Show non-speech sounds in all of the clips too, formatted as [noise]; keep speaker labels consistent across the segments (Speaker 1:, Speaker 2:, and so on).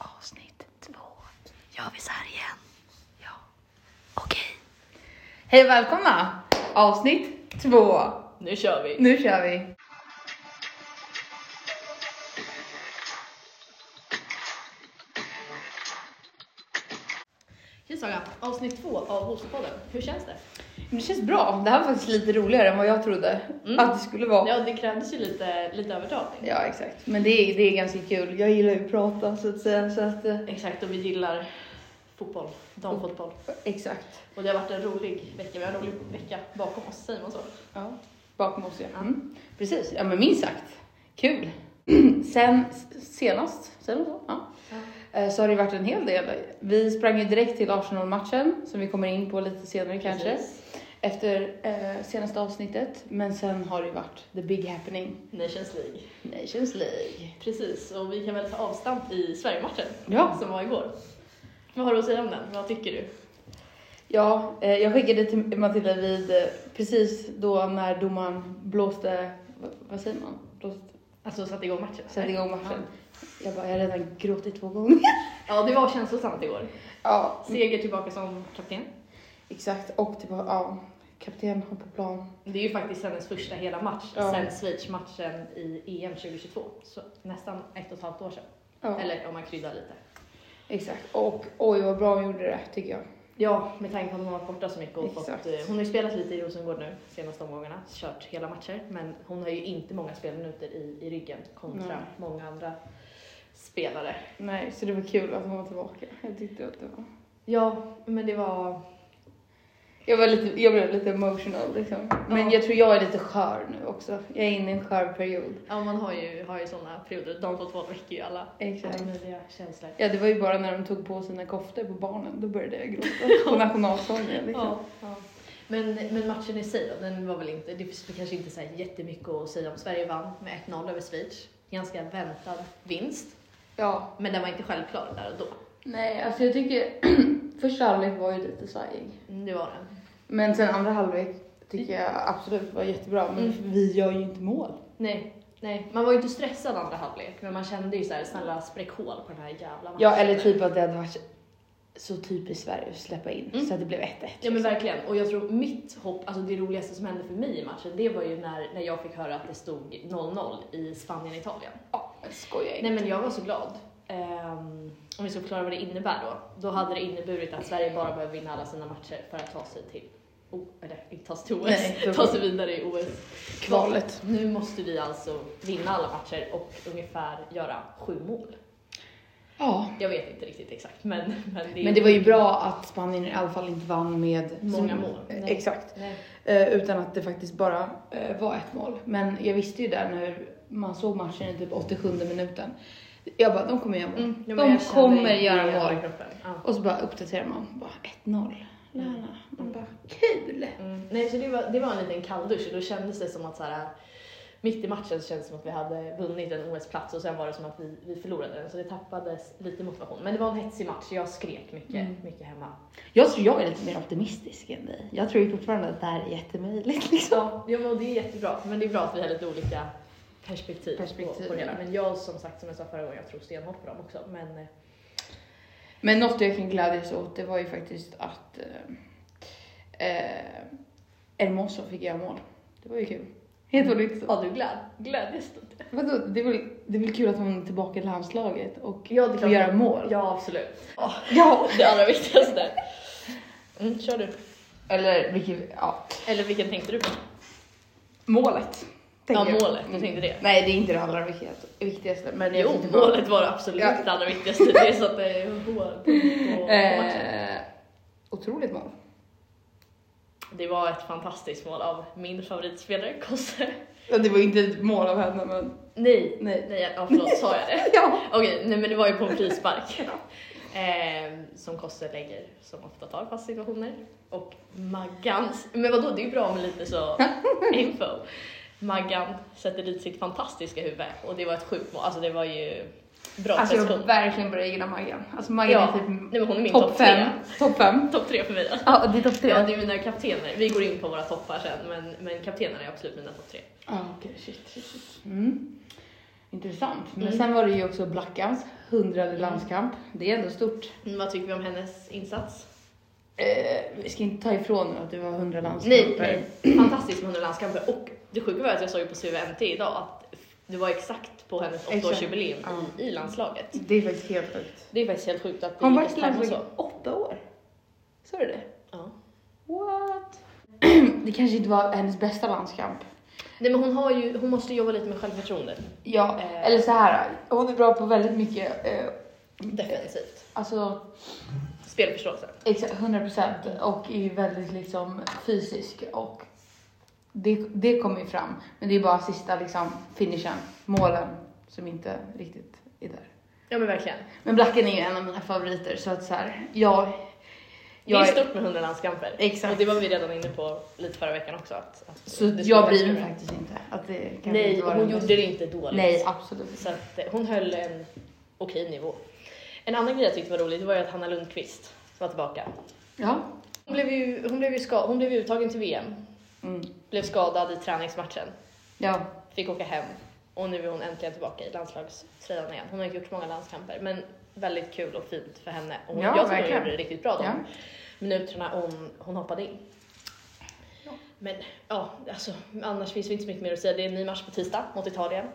Speaker 1: Avsnitt två. Gör vi så här igen? Ja. Okej. Hej och välkomna! Avsnitt två.
Speaker 2: Nu kör vi!
Speaker 1: Nu kör vi.
Speaker 2: Hej Saga! Avsnitt två av Hostpodden. Hur känns det?
Speaker 1: Det känns bra. Det här var faktiskt lite roligare än vad jag trodde
Speaker 2: Mm.
Speaker 1: att det skulle vara. Ja,
Speaker 2: Ja, det krävdes ju lite, lite övertalning.
Speaker 1: exakt. Men det är, det är ganska kul. Jag gillar ju att prata så att säga. Så att, eh,
Speaker 2: Exakt, och vi gillar fotboll. Damfotboll.
Speaker 1: exakt.
Speaker 2: Och det har varit en rolig vecka. Vi har en rolig vecka bakom oss, säger man så?
Speaker 1: Ja, bakom oss ja. Mm. Precis, ja men minst sagt. Kul. [clears throat] Sen s- senast, säger man så? Ja. Eh, så har det varit en hel del. Vi sprang ju direkt till Arsenal-matchen som vi kommer in på lite senare kanske.
Speaker 2: Precis.
Speaker 1: Efter eh, senaste avsnittet. Men sen har det ju varit the big happening.
Speaker 2: Nations League.
Speaker 1: Nations League.
Speaker 2: Precis, och vi kan väl ta avstamp i Sverigematchen
Speaker 1: Ja.
Speaker 2: som var igår. Vad har du att säga om den? Vad tycker du?
Speaker 1: Ja, eh, jag skickade till Matilda vid eh, precis då när domaren blåste, vad, vad säger man? Blåste,
Speaker 2: Alltså satte igång matchen?
Speaker 1: satte igång matchen. Jag bara, jag har redan gråtit två gånger.
Speaker 2: Ja, det var känslosamt igår.
Speaker 1: [laughs] Ja,
Speaker 2: Seger tillbaka som kapten.
Speaker 1: Exakt, och typ, ja, kapten har på plan.
Speaker 2: Det är ju faktiskt hennes första hela match
Speaker 1: Ja.
Speaker 2: sen Schweiz-matchen i EM 2022. Så nästan ett och ett halvt år sedan.
Speaker 1: Ja,
Speaker 2: Eller om man kryddar lite.
Speaker 1: exakt. Och oj vad bra hon gjorde det tycker jag.
Speaker 2: Ja, med tanke på att hon har varit borta så mycket och fått,
Speaker 1: Exakt.
Speaker 2: eh, Hon har ju spelat lite i Rosengård nu senaste omgångarna, kört hela matcher. Men hon har ju inte många spelminuter i, i ryggen kontra
Speaker 1: Nej.
Speaker 2: många andra spelare.
Speaker 1: Nej, så det var kul att hon var tillbaka. Jag tyckte att det var...
Speaker 2: Ja, men det var...
Speaker 1: Jag, var lite, jag blev lite emotional liksom. Men
Speaker 2: Ja.
Speaker 1: jag tror jag är lite skör nu också. Jag är inne i en skör period.
Speaker 2: Ja, man har ju, har ju sådana perioder. De två två väcker ju alla,
Speaker 1: Exakt.
Speaker 2: alla möjliga känslor.
Speaker 1: Ja, det var ju bara när de tog på sina koftor på barnen, då började jag [laughs] gråta. På nationalsången liksom.
Speaker 2: Ja, ja. Men, men matchen i sig då, den var väl inte, det finns väl kanske inte så här jättemycket att säga om. Sverige vann med 1-0 över Schweiz. Ganska väntad vinst,
Speaker 1: ja.
Speaker 2: men den var inte självklar där och då.
Speaker 1: Nej, alltså jag tycker... [clears throat] Första halvlek var ju lite svajig.
Speaker 2: Mm, Det var den.
Speaker 1: Men sen andra halvlek tycker jag absolut var jättebra. Men
Speaker 2: Mm.
Speaker 1: vi gör ju inte mål.
Speaker 2: Nej, nej. Man var ju inte stressad andra halvlek, men man kände ju så här, snälla spräck hål på den här jävla matchen.
Speaker 1: Ja, eller typ att det hade varit så typiskt Sverige att släppa in
Speaker 2: Mm.
Speaker 1: så att det blev 1-1.
Speaker 2: Ja men
Speaker 1: liksom.
Speaker 2: verkligen. Och jag tror mitt hopp, alltså det roligaste som hände för mig i matchen, det var ju när, när jag fick höra att det stod 0-0 i Spanien-Italien.
Speaker 1: Ja, jag skojar inte.
Speaker 2: Nej men jag var så glad. Ehm, om vi ska förklara vad det innebär då. Då hade det inneburit att Sverige bara behöver vinna alla sina matcher för att ta sig till O- eller inte ta sig till OS,
Speaker 1: Nej, då-
Speaker 2: ta sig vidare i OS.
Speaker 1: Kvalet.
Speaker 2: Nu måste vi alltså vinna alla matcher och ungefär göra sju mål.
Speaker 1: Ja.
Speaker 2: Jag vet inte riktigt exakt men, men, det, är-
Speaker 1: Men det var ju bra att Spanien i alla fall inte vann med
Speaker 2: Många mål.
Speaker 1: Eh,
Speaker 2: Nej.
Speaker 1: Exakt.
Speaker 2: Nej.
Speaker 1: Eh, utan att det faktiskt bara eh, var ett mål. Men jag visste ju där när man såg matchen i typ 87 minuten. Jag bara, de kommer göra mål.
Speaker 2: Mm, ja, men
Speaker 1: de
Speaker 2: jag kände
Speaker 1: kommer
Speaker 2: i
Speaker 1: göra
Speaker 2: hela
Speaker 1: mål.
Speaker 2: kroppen. Ja.
Speaker 1: Och så bara uppdaterar man, bara 1-0. La, la. Man bara, kul!
Speaker 2: Mm. Nej, så det var, det var en liten kalldusch och då kändes det som att så här, mitt i matchen så kändes det som att vi hade vunnit en OS-plats och sen var det som att vi, vi förlorade den så det tappades lite motivation. Men det var en hetsig match, jag skrek mycket,
Speaker 1: Mm.
Speaker 2: mycket hemma.
Speaker 1: Jag tror jag är lite mer optimistisk än dig. Jag tror ju fortfarande att det här är jättemöjligt [laughs] liksom.
Speaker 2: Ja, ja men det är jättebra, men det är bra att vi har lite olika perspektiv,
Speaker 1: Perspektiv,
Speaker 2: på, på det hela.
Speaker 1: ja.
Speaker 2: Men jag som sagt, som jag sa förra gången, jag tror stenhårt på dem också. Men eh,
Speaker 1: Men något jag kan glädjas åt det var ju faktiskt att eh, eh, Hermoso fick göra mål. Det var ju kul. Helt olyckligt.
Speaker 2: ja, du glad, glädjes åt det.
Speaker 1: Vadå, det är, väl, det är väl kul att hon är tillbaka i landslaget och
Speaker 2: Ja, det är
Speaker 1: får
Speaker 2: klart.
Speaker 1: göra mål?
Speaker 2: Ja, absolut. Ja,
Speaker 1: Ja.
Speaker 2: det allra viktigaste. Mm, kör du.
Speaker 1: Eller vilket, ja.
Speaker 2: Eller vilken tänkte du på?
Speaker 1: Målet.
Speaker 2: Ja,
Speaker 1: tänker jag.
Speaker 2: målet. Du
Speaker 1: Mm.
Speaker 2: tänkte det.
Speaker 1: Nej, det är inte det allra viktigaste- viktigaste. Men jag
Speaker 2: Jo,
Speaker 1: tyckte bara-
Speaker 2: målet var det absolut
Speaker 1: Ja.
Speaker 2: det allra viktigaste. Det är så att det
Speaker 1: [laughs]
Speaker 2: är hål på, på matchen.
Speaker 1: Eh, otroligt mål.
Speaker 2: Det var ett fantastiskt mål av min favoritspelare, Kosse.
Speaker 1: Ja, det var ju inte ett mål av henne, men
Speaker 2: Nej,
Speaker 1: nej.
Speaker 2: nej, ja förlåt, sa jag det?
Speaker 1: [laughs] Ja.
Speaker 2: Okej, nej men det var ju på
Speaker 1: [laughs]
Speaker 2: en frispark. Eh, som Kosse lägger, som ofta tar fast situationer. Och Maggans, men vadå, det är ju bra med
Speaker 1: [laughs]
Speaker 2: lite så info. Maggan sätter dit sitt fantastiska huvud och det var ett sjukt mål, alltså det var ju bra
Speaker 1: Alltså jag
Speaker 2: prestation.
Speaker 1: verkligen börjar gilla Maggan. Alltså Maggan
Speaker 2: Ja.
Speaker 1: är typ
Speaker 2: Nej men hon är min
Speaker 1: topp
Speaker 2: topp tre.
Speaker 1: fem. Topp fem.
Speaker 2: Topp tre för mig alltså.
Speaker 1: Ja, det är topp
Speaker 2: Ja, det är mina kaptener. Vi går in på våra toppar sen, men, men kaptenerna är absolut mina topp tre.
Speaker 1: Ja, okej, shit, shit, shit. Mm. Intressant. Men
Speaker 2: Mm.
Speaker 1: sen var det ju också Blackans hundrade landskamp. Det är ändå stort.
Speaker 2: Mm, Vad tycker vi om hennes insats?
Speaker 1: Eh, vi ska inte ta ifrån nu att du var hundra
Speaker 2: Nej,
Speaker 1: landskamper.
Speaker 2: nej. fantastiskt med 100 landskamper. Och det sjuka var att jag såg ju på CVMT idag att det var exakt på hennes
Speaker 1: Exakt.
Speaker 2: åttaårsjubileum
Speaker 1: Ja.
Speaker 2: i, i landslaget.
Speaker 1: Det är faktiskt helt sjukt.
Speaker 2: Det är faktiskt helt sjukt att det
Speaker 1: Har hon
Speaker 2: gick
Speaker 1: varit i
Speaker 2: fram och
Speaker 1: landslaget i åtta år? Så är det?
Speaker 2: Ja.
Speaker 1: What? [clears throat] det kanske inte var hennes bästa landskamp.
Speaker 2: Nej men hon, har ju, hon måste jobba lite med självförtroende.
Speaker 1: Ja,
Speaker 2: Eh.
Speaker 1: eller så här. Hon är bra på väldigt mycket, eh,
Speaker 2: Defensivt.
Speaker 1: alltså
Speaker 2: Spelförståelse.
Speaker 1: exakt 100 procent och är väldigt liksom fysisk och det, det kommer ju fram. Men det är bara sista liksom finishen, målen som inte riktigt är där.
Speaker 2: Ja men verkligen.
Speaker 1: Men Blacken är ju en av mina favoriter så att så här, jag,
Speaker 2: Det är
Speaker 1: jag
Speaker 2: stort med 100 landskamper.
Speaker 1: Exakt.
Speaker 2: Och det var vi redan inne på lite förra veckan också. Att, att
Speaker 1: så
Speaker 2: det
Speaker 1: jag
Speaker 2: skulle
Speaker 1: bryr mig
Speaker 2: vara-
Speaker 1: faktiskt inte att det kan
Speaker 2: Nej,
Speaker 1: inte vara
Speaker 2: hon
Speaker 1: den
Speaker 2: gjorde
Speaker 1: bästa.
Speaker 2: det inte dåligt.
Speaker 1: Nej, absolut.
Speaker 2: Så att eh, hon höll en okej nivå. En annan grej jag tyckte var rolig det var ju att Hanna Lundqvist var tillbaka.
Speaker 1: Ja.
Speaker 2: Hon blev ju, hon blev ju, ska, hon blev ju uttagen till VM.
Speaker 1: Mm.
Speaker 2: Blev skadad i träningsmatchen.
Speaker 1: Ja.
Speaker 2: Fick åka hem. Och nu är hon äntligen tillbaka i landslagströjan igen. Hon har inte gjort så många landskamper men väldigt kul och fint för henne. Och hon,
Speaker 1: Ja,
Speaker 2: jag tycker hon
Speaker 1: verkligen.
Speaker 2: gjorde det riktigt bra de
Speaker 1: Ja.
Speaker 2: minuterna hon, hon hoppade in.
Speaker 1: Ja.
Speaker 2: Men ja, alltså, annars finns det inte så mycket mer att säga. Det är en ny match på tisdag mot Italien.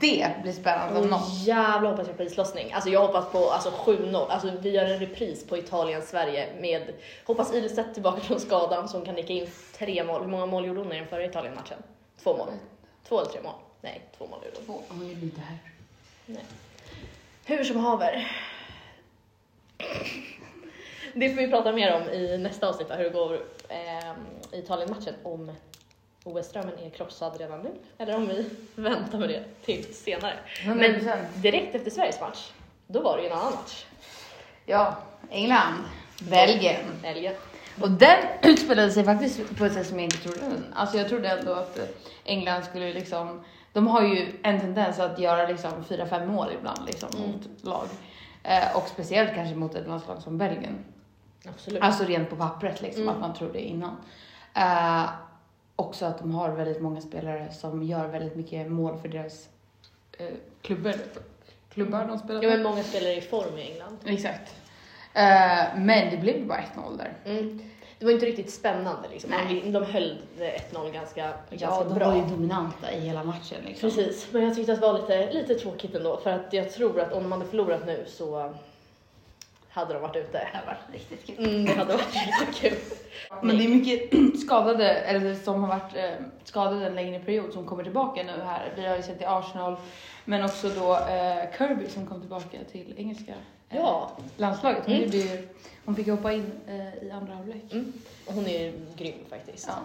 Speaker 1: Det blir spännande om
Speaker 2: Och
Speaker 1: Alltså, något.
Speaker 2: jävla hoppas jag på islossning. Alltså jag hoppas på alltså 7-0. Alltså vi gör en repris på Italien-Sverige med, hoppas Ilstedt tillbaka från skadan så hon kan nicka in tre mål. Hur många mål gjorde hon i den förra Italien-matchen? Två
Speaker 1: Mm.
Speaker 2: mål? Två eller tre mål? Nej, två mål gjorde hon.
Speaker 1: Åh, hon är inte här.
Speaker 2: Nej. Hur som haver. [laughs] Det får vi prata mer om i nästa avsnitt, va, hur det går ehm, i Italien-matchen. Om OS-drömmen är krossad redan nu, eller om vi [laughs] väntar med det till senare.
Speaker 1: 100%.
Speaker 2: Direkt efter Sveriges match, då var det ju en annan match.
Speaker 1: Ja, England. Belgien.
Speaker 2: Belgien.
Speaker 1: Och den [clears throat] utspelade sig faktiskt på ett sätt som jag inte trodde. Alltså jag trodde ändå att England skulle liksom, de har ju en tendens att göra liksom 4-5 mål ibland liksom
Speaker 2: Mm.
Speaker 1: mot lag. Eh, och speciellt kanske mot ett landslag som Belgien.
Speaker 2: Absolut.
Speaker 1: Alltså rent på pappret liksom,
Speaker 2: Mm.
Speaker 1: att man tror det innan. Eh, också att de har väldigt många spelare som gör väldigt mycket mål för deras eh, klubbor. Klubbar de spelar
Speaker 2: Ja,
Speaker 1: för.
Speaker 2: men många spelare i form i England.
Speaker 1: Exakt. Eh, men det blev bara 1-0 där.
Speaker 2: Mm. Det var inte riktigt spännande liksom.
Speaker 1: Nej.
Speaker 2: De, de höll det 1-0 ganska,
Speaker 1: Ja,
Speaker 2: ganska
Speaker 1: de
Speaker 2: bra.
Speaker 1: var ju dominanta i hela matchen liksom.
Speaker 2: Precis, men jag tyckte att det var lite, lite tråkigt ändå för att jag tror att om de hade förlorat nu så hade de varit ute.
Speaker 1: Det var riktigt kul.
Speaker 2: Mm, det hade varit [laughs] riktigt kul.
Speaker 1: Men det är mycket [clears throat] skadade, eller som har varit eh, skadade en längre period som kommer tillbaka nu här. Vi har ju sett i Arsenal, men också då eh, Kirby som kom tillbaka till engelska eh,
Speaker 2: Ja,
Speaker 1: landslaget. Hon,
Speaker 2: Mm.
Speaker 1: gjorde ju, hon fick hoppa in eh, i andra halvlek.
Speaker 2: mm. hon är ju grym faktiskt.
Speaker 1: Ja.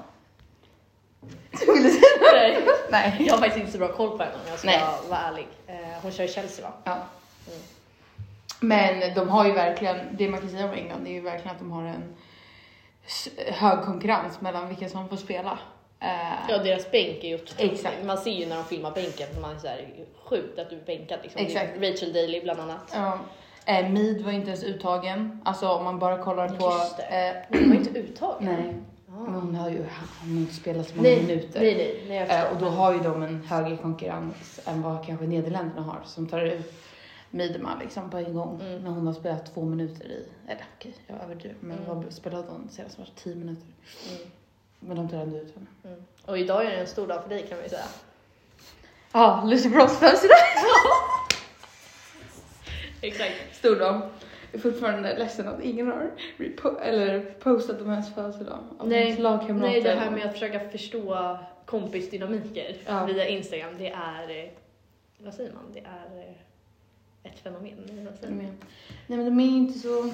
Speaker 1: Du ville säga
Speaker 2: Nej,
Speaker 1: [laughs] Nej.
Speaker 2: [laughs] Jag har faktiskt inte så bra koll på henne om jag ska
Speaker 1: Nej.
Speaker 2: vara ärlig. Eh, Hon kör i Chelsea va?
Speaker 1: Ja.
Speaker 2: Mm.
Speaker 1: Men de har ju verkligen, det man kan säga om England är ju verkligen att de har en s- hög konkurrens mellan vilka som får spela. Eh,
Speaker 2: Ja, deras bänk är ju otrolig.
Speaker 1: Exakt.
Speaker 2: Man ser ju när de filmar bänken, för man är såhär sjukt att du är bänkad liksom.
Speaker 1: Exakt.
Speaker 2: Det är Rachel Daly bland annat.
Speaker 1: ja. Eh, Mead var inte ens uttagen, alltså om man bara kollar på...
Speaker 2: Just det.
Speaker 1: eh,
Speaker 2: Hon var ju inte uttagen.
Speaker 1: nej, men
Speaker 2: Ah.
Speaker 1: hon har ju hon har inte spelat så många
Speaker 2: Nej, nej,
Speaker 1: minuter.
Speaker 2: nej, nej, jag förstår.
Speaker 1: Eh, och då har ju de en högre konkurrens än vad kanske Nederländerna har som tar ut Miedema liksom på en gång
Speaker 2: Mm.
Speaker 1: när hon har spelat två minuter i, eller okej jag överdriver men
Speaker 2: Mm.
Speaker 1: vad spelade hon senast match? Tio minuter.
Speaker 2: Mm,
Speaker 1: Men de tar ändå ut henne.
Speaker 2: mm. Och idag är det en stor dag för dig kan vi säga.
Speaker 1: Ja, ah, Lucy Bronze [laughs] födelsedag!
Speaker 2: Exakt.
Speaker 1: Stor dag. Jag är fortfarande ledsen att ingen har repo- eller postat om hennes födelsedag. Av
Speaker 2: Nej.
Speaker 1: hennes lagkamrater.
Speaker 2: Nej, det här med att försöka förstå kompisdynamiker
Speaker 1: Ja.
Speaker 2: via Instagram, det är, eh, vad säger man, det är eh, ett fenomen. Nej, vad säger
Speaker 1: De
Speaker 2: man?
Speaker 1: är- Nej men de är ju inte så...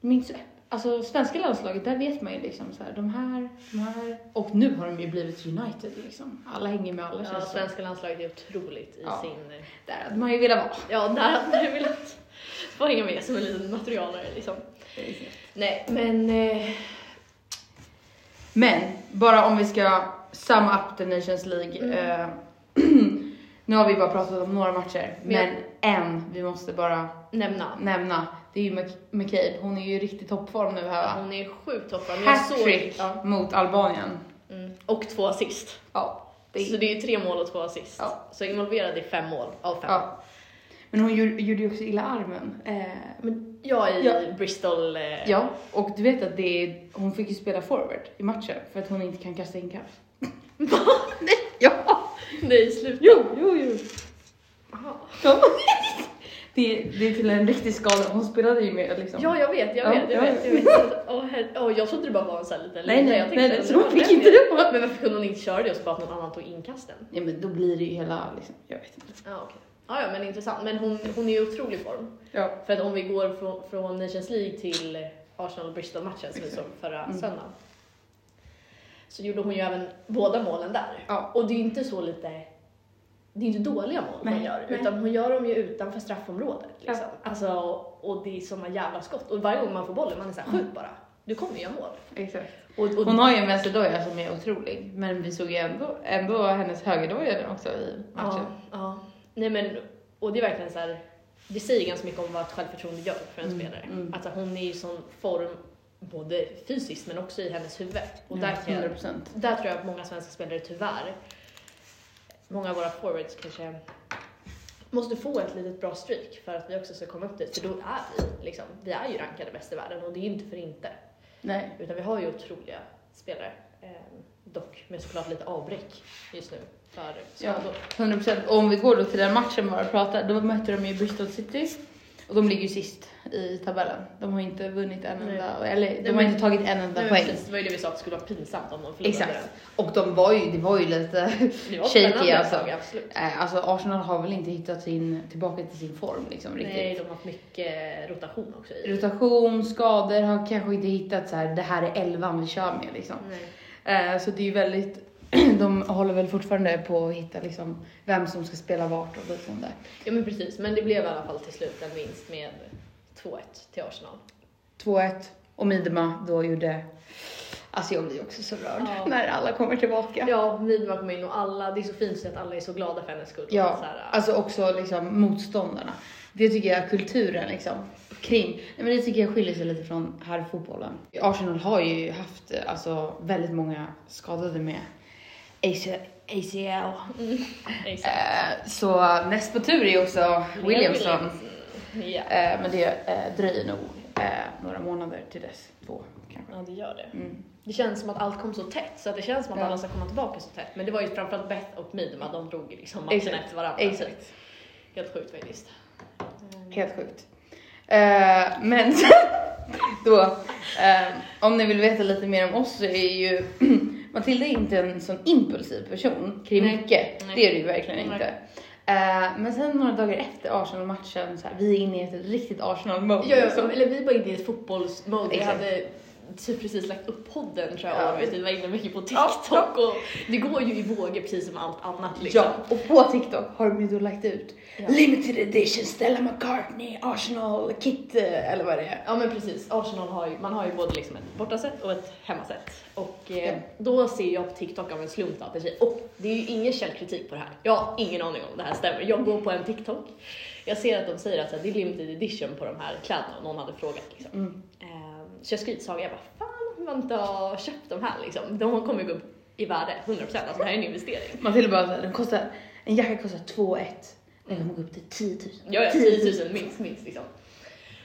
Speaker 1: De är inte så alltså svenska landslaget, där vet man ju liksom så här, de här, de här. Och nu har de ju blivit United liksom. Alla hänger med alla
Speaker 2: Ja,
Speaker 1: känns det som.
Speaker 2: svenska landslaget är otroligt i
Speaker 1: Ja.
Speaker 2: sin, eh,
Speaker 1: Där hade man ju velat vara.
Speaker 2: ja, där hade du velat få hänga med som en liten materialare liksom. Nej, men eh,
Speaker 1: Men, bara om vi ska sum up the Nations League. Eh, [clears throat] nu har vi bara pratat om några matcher,
Speaker 2: Men jag-
Speaker 1: men en vi måste bara
Speaker 2: nämna.
Speaker 1: nämna, det är ju Mc- McCabe. Hon är ju i riktigt toppform nu här va?
Speaker 2: Hon är sjukt toppad. Jag såg-
Speaker 1: Hattrick
Speaker 2: Ja.
Speaker 1: mot Albanien.
Speaker 2: Mm. Och två assist.
Speaker 1: Ja. Det-
Speaker 2: Så det är ju tre mål och två assist.
Speaker 1: Ja.
Speaker 2: Så involverad i fem mål av fem.
Speaker 1: Ja. Men hon gjorde, gjorde ju också illa armen. Eh,
Speaker 2: Men jag är i
Speaker 1: Ja.
Speaker 2: Bristol. Eh,
Speaker 1: ja, och du vet att det är, hon fick ju spela forward i matchen för att hon inte kan kasta in kast. Nej, ja!
Speaker 2: Nej, sluta.
Speaker 1: Jo, jo, jo.
Speaker 2: Aha.
Speaker 1: [laughs] Ja. Det, är- det är till en riktig skada. Hon spelade ju med liksom.
Speaker 2: Ja, jag vet, jag
Speaker 1: Ja,
Speaker 2: vet, jag
Speaker 1: ja.
Speaker 2: vet. Jag, vet. Åh, herre- åh, jag trodde det bara var en sån här liten
Speaker 1: nej,
Speaker 2: lina.
Speaker 1: nej,
Speaker 2: jag
Speaker 1: nej,
Speaker 2: tänkte
Speaker 1: nej,
Speaker 2: att
Speaker 1: så
Speaker 2: det
Speaker 1: hon
Speaker 2: var
Speaker 1: fick
Speaker 2: den.
Speaker 1: inte det. på-
Speaker 2: Men varför kunde hon inte köra det och så bara att någon annan tog inkasten?
Speaker 1: Ja, men då blir det ju hela liksom, jag vet inte.
Speaker 2: Ja, okej. Ja, ja, men intressant. Men hon, hon är ju i otrolig form.
Speaker 1: Ja.
Speaker 2: För att om vi går från, från Nations League till Arsenal och Bristol-matchen som vi såg förra
Speaker 1: Mm.
Speaker 2: söndagen. Så gjorde hon ju även båda målen där.
Speaker 1: Ja.
Speaker 2: Och det är ju inte så lite... Det är ju inte dåliga mål hon
Speaker 1: Nej,
Speaker 2: gör.
Speaker 1: nej.
Speaker 2: Utan hon gör dem ju utanför straffområdet.
Speaker 1: Ja.
Speaker 2: Liksom. Alltså, och det är såna jävla skott. Och varje gång man får bollen, man är såhär, skjut bara. Du kommer ju göra mål.
Speaker 1: Exakt.
Speaker 2: Och, och,
Speaker 1: Mm. Hon har ju en vänsterdoja som är otrolig, men vi såg ju ändå, ändå hennes högerdoja där också i
Speaker 2: Ja,
Speaker 1: matchen.
Speaker 2: ja. Nej men, och det är verkligen så här, det säger ganska mycket om vad ett självförtroende gör för en
Speaker 1: Mm,
Speaker 2: spelare.
Speaker 1: mm.
Speaker 2: Alltså hon är ju i sån form, både fysiskt men också i hennes huvud. Och där, kan jag,
Speaker 1: 100 procent.
Speaker 2: där tror jag att många svenska spelare tyvärr, många av våra forwards kanske, måste få ett litet bra streak för att vi också ska komma upp dit. För då är vi, liksom, vi är ju rankade bäst i världen och det är ju inte för inte.
Speaker 1: Nej.
Speaker 2: Utan vi har ju otroliga spelare. Eh, dock med såklart lite avbräck just nu för
Speaker 1: Ja,
Speaker 2: skador.
Speaker 1: 100 procent. Om vi går då till den matchen bara och pratar, då mötte de ju Bristol City och de ligger ju sist i tabellen. De har inte vunnit en
Speaker 2: Nej.
Speaker 1: enda, eller de
Speaker 2: Nej,
Speaker 1: har
Speaker 2: men-
Speaker 1: inte tagit en enda
Speaker 2: Nej,
Speaker 1: poäng.
Speaker 2: precis, det var ju det vi sa att det skulle vara pinsamt om de förlorade
Speaker 1: Exakt. Och de var ju, det var ju lite [laughs]
Speaker 2: den. Det var
Speaker 1: Shaky,
Speaker 2: spännande ett
Speaker 1: alltså.
Speaker 2: tag, absolut.
Speaker 1: Eh, alltså Arsenal har väl inte hittat sin, tillbaka till sin form liksom riktigt.
Speaker 2: Nej, de har haft mycket rotation också i.
Speaker 1: Rotation, skador har kanske inte hittat så här, det här är elvan vi kör med liksom.
Speaker 2: Nej.
Speaker 1: Eh, så det är ju väldigt, [clears throat] de håller väl fortfarande på att hitta liksom vem som ska spela vart och liknande.
Speaker 2: Ja men precis, men det blev i alla fall till slut en vinst med 2-1 till Arsenal.
Speaker 1: 2-1 och Midema då gjorde, alltså jag blir också så rörd
Speaker 2: Ja.
Speaker 1: när alla kommer tillbaka. Ja.
Speaker 2: Ja, Midmark kom in och alla, det är så fint att alla är så glada för hennes skull. typ. Så här,
Speaker 1: alltså också liksom motståndarna. Det tycker jag kulturen liksom kring, nej men det tycker jag skiljer sig lite från här i fotbollen. Arsenal har ju haft eh, alltså väldigt många skadade med AC ACL.
Speaker 2: exakt.
Speaker 1: Eh, så näst på tur är ju också Williamson.
Speaker 2: Mm, Ja.
Speaker 1: Eh, men det eh, dröjer nog eh, några månader till dess. Två kanske.
Speaker 2: ja, det gör det.
Speaker 1: Mm.
Speaker 2: Det känns som att allt kom så tätt, så att det känns som att
Speaker 1: Ja.
Speaker 2: alla ska komma tillbaka så tätt. Men det var ju framförallt Beth och Midma, de drog ju liksom matchen
Speaker 1: Exakt.
Speaker 2: efter varandra.
Speaker 1: Exakt.
Speaker 2: Helt sjukt faktiskt.
Speaker 1: Helt sjukt. Eh, men [laughs] sen då, eh, om ni vill veta lite mer om oss så är ju [clears throat] Matilda är inte en sån impulsiv person kring
Speaker 2: Nej.
Speaker 1: mycket.
Speaker 2: Nej.
Speaker 1: Det är du ju verkligen
Speaker 2: Nej.
Speaker 1: inte. Eh, men sen några dagar efter Arsenal-matchen, så här, vi är inne i ett riktigt Arsenal-mode.
Speaker 2: Ja,
Speaker 1: liksom.
Speaker 2: ja, eller vi var inne i ett fotbollsmode. Vi
Speaker 1: Exakt.
Speaker 2: hade typ precis lagt upp podden tror
Speaker 1: Ja.
Speaker 2: jag. och Vi var inne mycket på
Speaker 1: Ja,
Speaker 2: TikTok och det går ju i vågor precis som allt annat liksom.
Speaker 1: Ja, och på TikTok har de ju då lagt ut
Speaker 2: Ja.
Speaker 1: Limited edition Stella McCartney Arsenal kit eh, eller vad det är.
Speaker 2: Ja men precis, Arsenal har ju, man har ju både liksom ett bortasätt och ett hemmasätt. Och eh,
Speaker 1: Ja.
Speaker 2: då ser jag på TikTok av en slump att det säger, och det är ju ingen källkritik på det här. Jag har ingen aning om det här stämmer. Jag går på en TikTok, jag ser att de säger att så här, det är limited edition på de här kläderna och någon hade frågat liksom.
Speaker 1: Mm.
Speaker 2: Eh, Så jag skrytsaga, jag bara fan om man inte har köpt de här liksom. De kommer ju gå upp i värde, 100%. Alltså det här är en investering.
Speaker 1: Man till och bara, den kostar, en jacka kostar 2 1 Den kommer gå upp till 10 000.
Speaker 2: Jag gör 10 000 minst, minst liksom.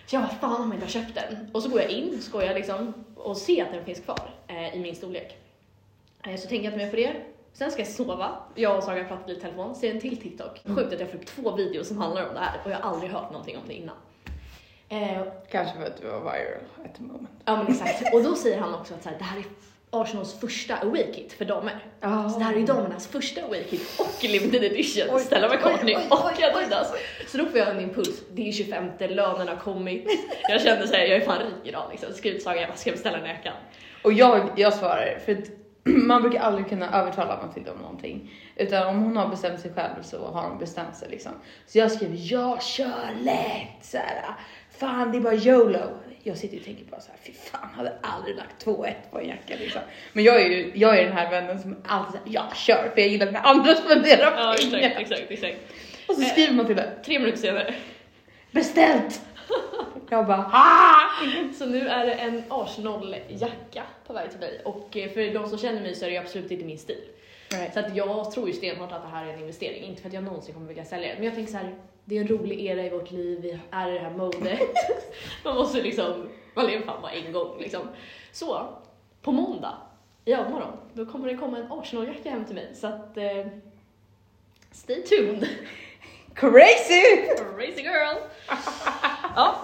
Speaker 2: Så jag bara fan om jag inte har köpt den. Och så går jag in, skojar liksom och ser att den finns kvar eh, i min storlek. Eh, så tänker jag inte mer på det. Sen ska jag sova. Jag och Saga pratar lite i telefon, ser en till TikTok. Sjukt att jag får upp två videos som handlar om det här och jag har aldrig hört någonting om det innan. Eh,
Speaker 1: Kanske för att du var viral at the moment.
Speaker 2: Ja men exakt. Och då säger han också att så här, det här är Arsenals första away kit för damer.
Speaker 1: Ja.
Speaker 2: Så det här är ju damernas första away kit och limited edition.
Speaker 1: Oj,
Speaker 2: Stella McCartney
Speaker 1: oj, oj,
Speaker 2: och Adidas. Så då får jag en impuls. Det är ju 25, lönen har kommit. Jag kände såhär, jag är fan rik idag liksom. Skrytsaga, jag bara, ska jag beställa när jag kan?
Speaker 1: Och jag, jag svarar, för att [clears throat] man brukar aldrig kunna övertala Matilda om någonting. Utan om hon har bestämt sig själv så har hon bestämt sig liksom. Så jag skriver, jag kör lätt! Så här, "Ah, fan det är bara YOLO. Jag sitter ju och tänker bara så här, fy fan hade aldrig lagt 2-1 på en jacka liksom. Men jag är ju jag är den här vännen som alltid säger, jag kör för jag gillar när andra spenderar
Speaker 2: Ja
Speaker 1: pengar.
Speaker 2: exakt, exakt, exakt.
Speaker 1: och så skriver Matilda,
Speaker 2: Tre minuter senare. [laughs]
Speaker 1: beställt! jag bara, ah!
Speaker 2: Så nu är det en Arsenal-jacka på väg till mig och eh, för de som känner mig så är det ju absolut inte min stil.
Speaker 1: Nej.
Speaker 2: Så att jag tror ju stenhårt att det här är en investering. Inte för att jag någonsin kommer vilja sälja det, men jag tänker så här. Det är en rolig era i vårt liv, vi är i det här modet. [laughs] man måste liksom, man lever fan bara en gång liksom. Så, på måndag i övermorgon, då kommer det komma en Arsenal-jacka hem till mig. Så att, eh, stay tuned! [laughs]
Speaker 1: Crazy!
Speaker 2: Crazy [laughs] girl! ja.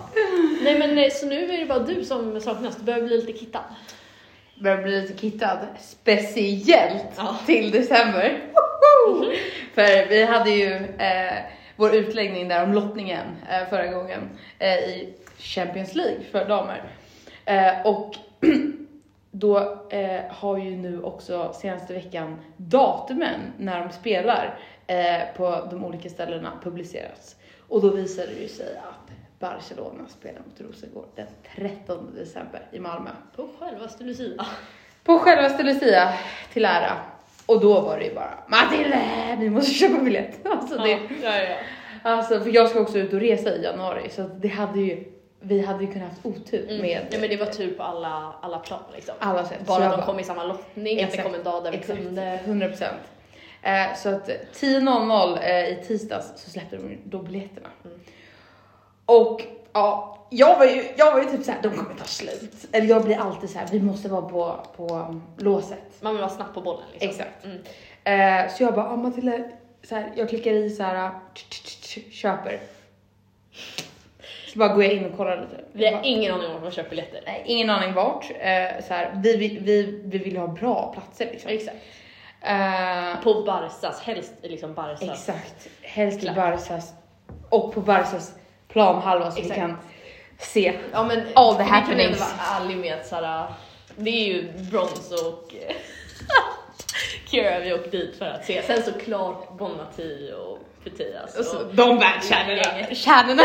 Speaker 2: Nej men eh, så nu är det bara du som saknas, du behöver bli lite kittad.
Speaker 1: Börjar bli lite kittad. Speciellt
Speaker 2: Ja.
Speaker 1: till december. Woho! För vi hade ju eh, vår utläggning där om lottningen eh, förra gången eh, i Champions League för damer. Eh, och [clears throat] då eh, har ju nu också senaste veckan datumen när de spelar eh, på de olika ställena publicerats. Och då visade det ju sig att Barcelona spelar mot Rosengård den 13 december i Malmö.
Speaker 2: På självaste Lucia.
Speaker 1: På självaste Lucia till ära. Och då var det ju bara Matilde, vi måste köpa biljett. [laughs] Alltså, det,
Speaker 2: Ja, ja, ja.
Speaker 1: alltså, för jag ska också ut och resa i januari så att det hade ju, vi hade ju kunnat haft otur
Speaker 2: Mm.
Speaker 1: med
Speaker 2: ja men det var tur på alla, alla plan liksom.
Speaker 1: alla sätt. Så
Speaker 2: Bara
Speaker 1: jag
Speaker 2: att de kom i samma lottning, att det
Speaker 1: Exakt,
Speaker 2: kom en dag där vi
Speaker 1: Exakt,
Speaker 2: kunde.
Speaker 1: 100 procent. Eh, så att 10.00 eh, i tisdags så släppte de ju då biljetterna.
Speaker 2: Mm.
Speaker 1: Och ja, jag var ju, jag var ju typ såhär, de kommer ta slut. Eller jag blir alltid så här, vi måste vara på, på låset.
Speaker 2: Man vill vara snabb på bollen liksom.
Speaker 1: Exakt.
Speaker 2: Mm.
Speaker 1: Eh, så jag bara, ah, Matilda, så här, jag klickar i så här, ah, tch, tch, tch, tch, köper. Så bara går jag in och kollar lite.
Speaker 2: Vi
Speaker 1: Jag
Speaker 2: har
Speaker 1: bara,
Speaker 2: ingen aning om vart man köper biljetter.
Speaker 1: nej, ingen aning vart. Eh, så här, vi, vi, vi, vi vill ha bra platser liksom.
Speaker 2: Exakt.
Speaker 1: Eh,
Speaker 2: På Barsas, helst i liksom Barsas.
Speaker 1: exakt. Helst i
Speaker 2: Klart.
Speaker 1: Barsas och på Barsas planhalva så
Speaker 2: Exakt.
Speaker 1: vi kan se.
Speaker 2: Ja men
Speaker 1: All the
Speaker 2: vi kan ändå
Speaker 1: happenings.
Speaker 2: vara ärlig med att såhär, det är ju brons och [laughs] eh, Kira vi åkte dit för att se. Sen såklart Bonmati och Putias
Speaker 1: Och så, de bär kärnorna.
Speaker 2: Gänget.
Speaker 1: Kärnorna.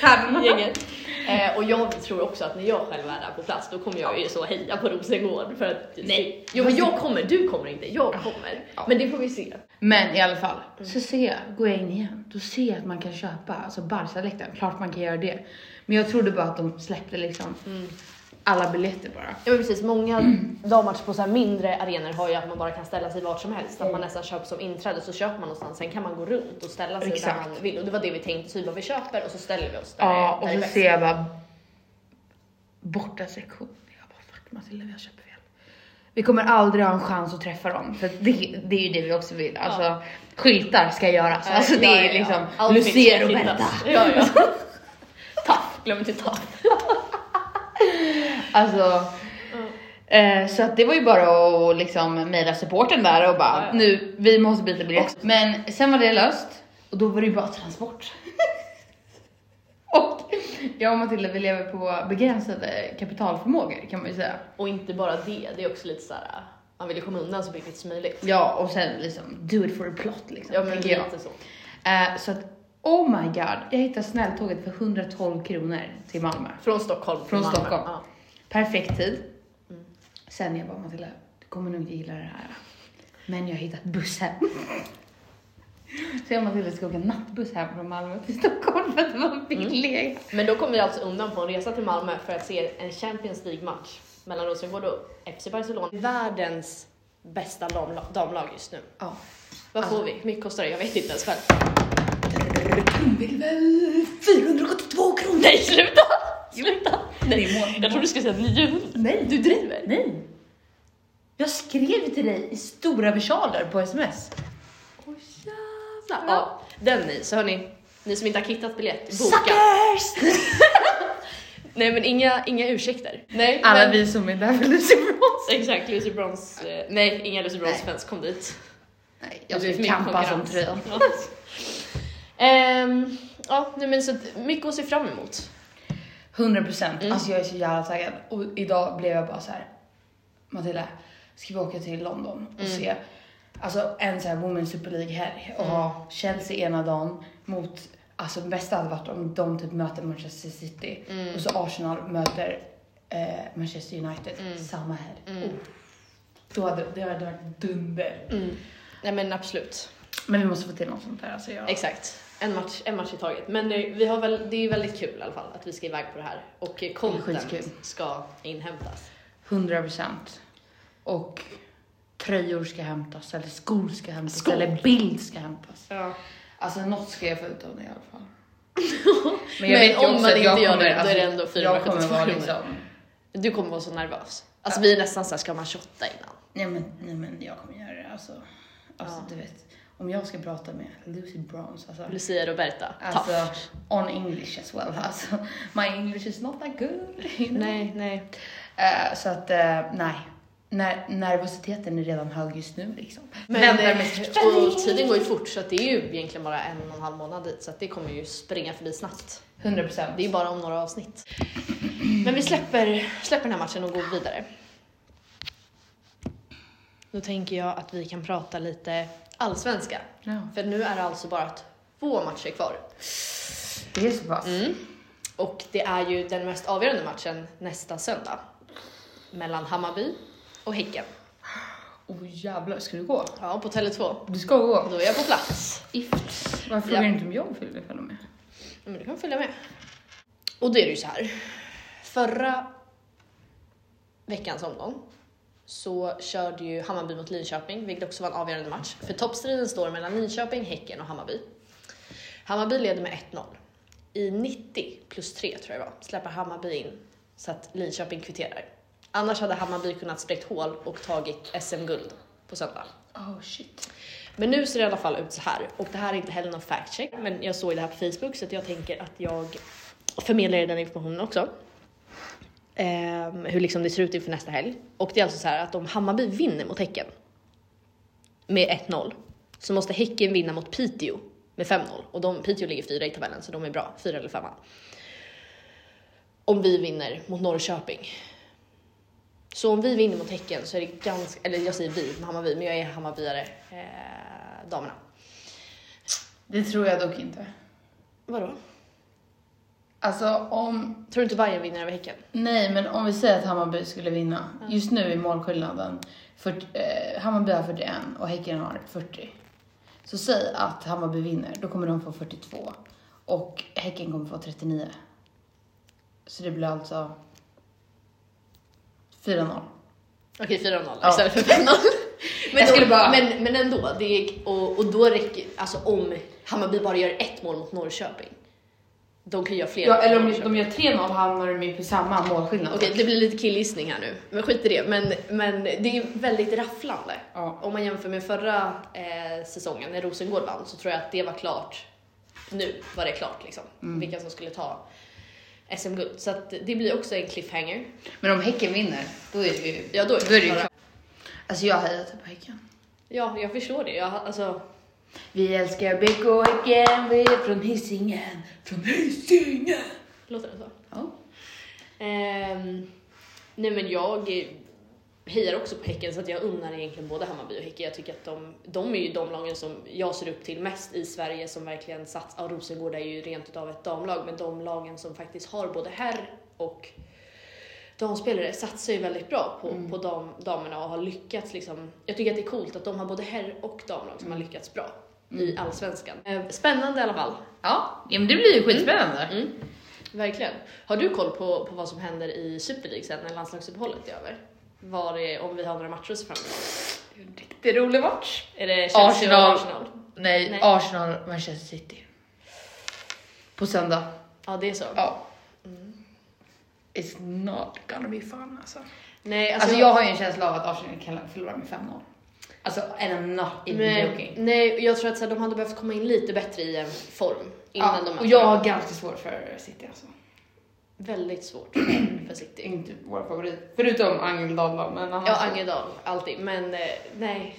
Speaker 1: kärnorna.
Speaker 2: gänget. Eh, och jag tror också att när jag själv är där på plats då kommer jag ju så heja på Rosengård för att nej, jo, men jag kommer, du kommer inte, jag kommer.
Speaker 1: Ja.
Speaker 2: Men det får vi se.
Speaker 1: Men i alla fall,
Speaker 2: Mm.
Speaker 1: så ser jag, går jag in igen, då ser jag att man kan köpa alltså Barca-läktaren. Klart man kan göra det. Men jag trodde bara att de släppte liksom
Speaker 2: Mm.
Speaker 1: alla biljetter bara.
Speaker 2: Ja men precis, många dammatcher på så här mindre arenor har ju att man bara kan ställa sig vart som helst.
Speaker 1: Mm.
Speaker 2: Att man nästan köper som inträde så köper man någonstans, sen kan man gå runt och ställa sig
Speaker 1: Exakt.
Speaker 2: där man vill. Och det var det vi tänkte, så vi bara vi köper och så ställer vi oss där,
Speaker 1: Ja, och
Speaker 2: där
Speaker 1: så
Speaker 2: det är bäst.
Speaker 1: ser jag bara borta sektion. Jag bara fuck Matilda, vi har köpt fel. Vi kommer aldrig ha en chans att träffa dem. För det, det är ju det vi också vill. Alltså, Skyltar ska göras. Alltså det
Speaker 2: Ja,
Speaker 1: är
Speaker 2: ja, ja.
Speaker 1: liksom
Speaker 2: Outfit ska
Speaker 1: Lucia
Speaker 2: hittas.
Speaker 1: Roberta. [laughs]
Speaker 2: Ja, ja. Taff, glöm inte taff.
Speaker 1: Alltså,
Speaker 2: Mm.
Speaker 1: eh, så att det var ju bara att liksom mejla supporten där och bara
Speaker 2: Ja, ja.
Speaker 1: nu, vi måste byta biljett. Men sen var det löst och då var det ju bara transport. [laughs] och jag och Matilda vi lever på begränsade kapitalförmågor kan man ju säga.
Speaker 2: Och inte bara det, det är också lite så här. man vill ju komma undan så billigt som möjligt.
Speaker 1: Ja och sen liksom do it for a plot liksom.
Speaker 2: Ja men
Speaker 1: tänker jag.
Speaker 2: lite så.
Speaker 1: Eh, så att oh my god, jag hittade snälltåget för 112 kronor till Malmö.
Speaker 2: Från Stockholm. till
Speaker 1: Från
Speaker 2: Malmö.
Speaker 1: Stockholm.
Speaker 2: Ja.
Speaker 1: Perfekt tid.
Speaker 2: Mm.
Speaker 1: Sen jag bara Matilda, du kommer nog inte gilla det här. Men jag har hittat buss
Speaker 2: [laughs]
Speaker 1: hem. Så jag och Matilda ska åka nattbuss hem från Malmö till Stockholm för att det
Speaker 2: Mm.
Speaker 1: var billigare.
Speaker 2: Men då kom vi alltså undan på en resa till Malmö för att se en Champions League-match mellan Rosengård och FC Barcelona. Världens bästa damla- damlag just nu.
Speaker 1: Ja.
Speaker 2: Vad får
Speaker 1: Alltså.
Speaker 2: vi? Hur mycket kostar det? Jag vet inte ens själv. [laughs]
Speaker 1: Hon vill väl 472 kronor?
Speaker 2: Nej, sluta! Sluta!
Speaker 1: det är mål.
Speaker 2: Nej, jag trodde du skulle säga 900.
Speaker 1: Nej,
Speaker 2: Du driver?
Speaker 1: Nej. Jag skrev till dig i stora versaler på sms.
Speaker 2: Åh jävlar. Ja, den ni. Så hörni, ni som inte har kittat biljett, boka. [laughs]
Speaker 1: Suckers!
Speaker 2: Nej men inga, inga ursäkter. Nej,
Speaker 1: Alla
Speaker 2: men...
Speaker 1: vi som är där för Lucy Bronze.
Speaker 2: Exakt, Lucy Brons... Eh, nej, inga Lucy Brons-fans kom dit.
Speaker 1: Nej, jag
Speaker 2: Det är
Speaker 1: ska
Speaker 2: min
Speaker 1: kampa som
Speaker 2: konkurrens.
Speaker 1: tröjan.
Speaker 2: Ja. [laughs] Ehm, ja, nej, men så att mycket att se fram emot.
Speaker 1: 100 procent. Alltså jag är så jävla taggad. Och idag blev jag bara så här. Matilda, ska vi åka till London och se alltså, en så här Women's Super League helg och ha Chelsea ena dagen mot, alltså det bästa hade varit om de typ möter Manchester City
Speaker 2: Mm.
Speaker 1: och så Arsenal möter eh, Manchester United samma helg. Oh. Då hade det hade varit dunder.
Speaker 2: Mm. Nej men absolut.
Speaker 1: Men vi måste få till något sånt där. Alltså jag...
Speaker 2: Exakt. En match, en match i taget. Men eh, vi har väl, det är väldigt kul i alla fall att vi ska iväg på det här. Och eh,
Speaker 1: är
Speaker 2: content
Speaker 1: skitkul.
Speaker 2: ska inhämtas.
Speaker 1: 100 procent. Och tröjor ska hämtas, eller skor ska hämtas,
Speaker 2: Skor.
Speaker 1: eller bild ska hämtas.
Speaker 2: Ja.
Speaker 1: Alltså något ska jag få ut av det i alla
Speaker 2: [laughs]
Speaker 1: fall.
Speaker 2: Men,
Speaker 1: jag vet ju
Speaker 2: om
Speaker 1: också
Speaker 2: man
Speaker 1: att
Speaker 2: inte
Speaker 1: jag
Speaker 2: gör
Speaker 1: kommer-
Speaker 2: det, då
Speaker 1: alltså,
Speaker 2: är det ändå
Speaker 1: Jag kommer
Speaker 2: 472
Speaker 1: vara
Speaker 2: kronor.
Speaker 1: liksom,
Speaker 2: Du kommer vara så nervös. Alltså vi är nästan såhär, ska man shotta innan?
Speaker 1: nej men, nej men jag kommer göra det alltså. Alltså
Speaker 2: Ja.
Speaker 1: du vet, om jag ska prata med Lucy Bronze, alltså.
Speaker 2: Lucia Roberta,
Speaker 1: Alltså,
Speaker 2: tough.
Speaker 1: on English as well. Alltså, my English is not that good. You know?
Speaker 2: Nej, nej.
Speaker 1: Eh, så att, eh, nej. Ner- nervositeten är redan hög just nu liksom.
Speaker 2: Men,
Speaker 1: Väntar
Speaker 2: eh,
Speaker 1: med
Speaker 2: och tiden går ju fort så att det är ju egentligen bara en och en halv månad dit så att det kommer ju springa förbi snabbt.
Speaker 1: 100 procent.
Speaker 2: Det är ju bara om några avsnitt. Men vi släpper, släpper den här matchen och går vidare. Då tänker jag att vi kan prata lite allsvenska.
Speaker 1: Ja,
Speaker 2: För nu är det alltså bara två matcher kvar.
Speaker 1: det är så pass.
Speaker 2: Mm. Och det är ju den mest avgörande matchen nästa söndag. Mellan Hammarby och Häcken.
Speaker 1: Åh jävlar, ska du gå?
Speaker 2: Ja, på Tele2.
Speaker 1: Du ska gå.
Speaker 2: Då är jag på plats.
Speaker 1: Ift. Varför frågar
Speaker 2: Ja.
Speaker 1: du inte om jag vill följa med?
Speaker 2: Ja, Men du kan följa med. Och då är det ju så här. Förra veckans omgång så körde ju Hammarby mot Linköping, vilket också var en avgörande match. För toppstriden står mellan Linköping, Häcken och Hammarby. Hammarby leder med 1-0. I 90 plus 3 tror jag det var, släpper Hammarby in så att Linköping kvitterar. Annars hade Hammarby kunnat spräckt hål och tagit SM-guld på söndag.
Speaker 1: Oh shit.
Speaker 2: Men nu ser det i alla fall ut så här och det här är inte heller någon fact check men jag såg det här på Facebook så att jag tänker att jag förmedlar er den informationen också. Ehm, hur liksom det ser ut inför nästa helg. Och det är alltså så här att om Hammarby vinner mot Häcken med 1-0 så måste Häcken vinna mot Piteå med 5-0 och de, Piteå ligger fyra i tabellen så de är bra, fyra eller femma. Om vi vinner mot Norrköping. Så om vi vinner mot Häcken så är det ganska, eller jag säger vi, Hammarby, men jag är Hammarbyare, eh, damerna.
Speaker 1: Det tror jag dock inte.
Speaker 2: Vadå?
Speaker 1: Alltså om,
Speaker 2: Tror du inte Bayern vinner över Häcken?
Speaker 1: nej men om vi säger att Hammarby skulle vinna. Just nu är målskillnaden, 40, eh, Hammarby har 41 och Häcken har 40. Så säg att Hammarby vinner, då kommer de få 42. Och Häcken kommer få 39. Så det blir alltså 4-0.
Speaker 2: Okej, 4-0
Speaker 1: Ja.
Speaker 2: istället för 5-0. [laughs] Men,
Speaker 1: Jag skulle
Speaker 2: då,
Speaker 1: bara-
Speaker 2: men, men ändå, det är, och, och då räcker alltså om Hammarby bara gör ett mål mot Norrköping. De kan göra fler.
Speaker 1: Ja,
Speaker 2: mot
Speaker 1: eller om
Speaker 2: Norrköping.
Speaker 1: de gör 3-0 hamnar de ju på samma målskillnad.
Speaker 2: Okej, det blir lite killgissning här nu, men skit i det. Men, men det är väldigt rafflande.
Speaker 1: Ja.
Speaker 2: Om man jämför med förra eh, säsongen när Rosengård vann så tror jag att det var klart. Nu var det klart liksom, vilka som skulle ta SM-guld. Så att det blir också en cliffhanger.
Speaker 1: Men om Häcken vinner, då är det ju...
Speaker 2: Ja, då är det
Speaker 1: ju
Speaker 2: klara.
Speaker 1: klart. Alltså jag hejar typ på Häcken.
Speaker 2: Ja, jag förstår det. Jag, alltså,
Speaker 1: Vi älskar BK Häcken, vi är från Hisingen. Från Hisingen!
Speaker 2: låter det så?
Speaker 1: Ja.
Speaker 2: Ehm, nej men jag eh, hejar också på Häcken så att jag unnar egentligen både Hammarby och Häcken. Jag tycker att de, de är ju de lagen som jag ser upp till mest i Sverige som verkligen satsar. Ja, Rosengård är ju rent utav ett damlag men de lagen som faktiskt har både herr och damspelare satsar ju väldigt bra på, på dam, damerna och har lyckats liksom. Jag tycker att det är coolt att de har både herr och damlag som har lyckats bra i allsvenskan. Ehm, Spännande i alla fall.
Speaker 1: Ja, men det blir ju skitspännande.
Speaker 2: Mm. Verkligen. Har du koll på, på vad som händer i Super League sen när landslagsuppehållet är över? Var det, om vi har några matcher att se fram emot?
Speaker 1: Det är en Mm. riktigt rolig match.
Speaker 2: Är det Chelsea och
Speaker 1: Arsenal.
Speaker 2: Arsenal?
Speaker 1: Nej,
Speaker 2: Nej.
Speaker 1: Arsenal, Manchester City. På söndag.
Speaker 2: Ja, det är så.
Speaker 1: Ja. It's not gonna be fun alltså.
Speaker 2: Nej,
Speaker 1: Alltså jag har ju en känsla av att Arsenal kan förlora med 5-0. Alltså, and I'm not even
Speaker 2: nej,
Speaker 1: joking.
Speaker 2: nej, jag tror att så här, de hade behövt komma in lite bättre i en form innan
Speaker 1: Ja,
Speaker 2: de möter
Speaker 1: och jag
Speaker 2: dem.
Speaker 1: har ganska svårt för City alltså.
Speaker 2: Väldigt svårt för City.
Speaker 1: Det [clears throat] är inte vår favorit. Förutom Angeldal då, men annars.
Speaker 2: Ja, Angedal, alltid. Men eh, nej.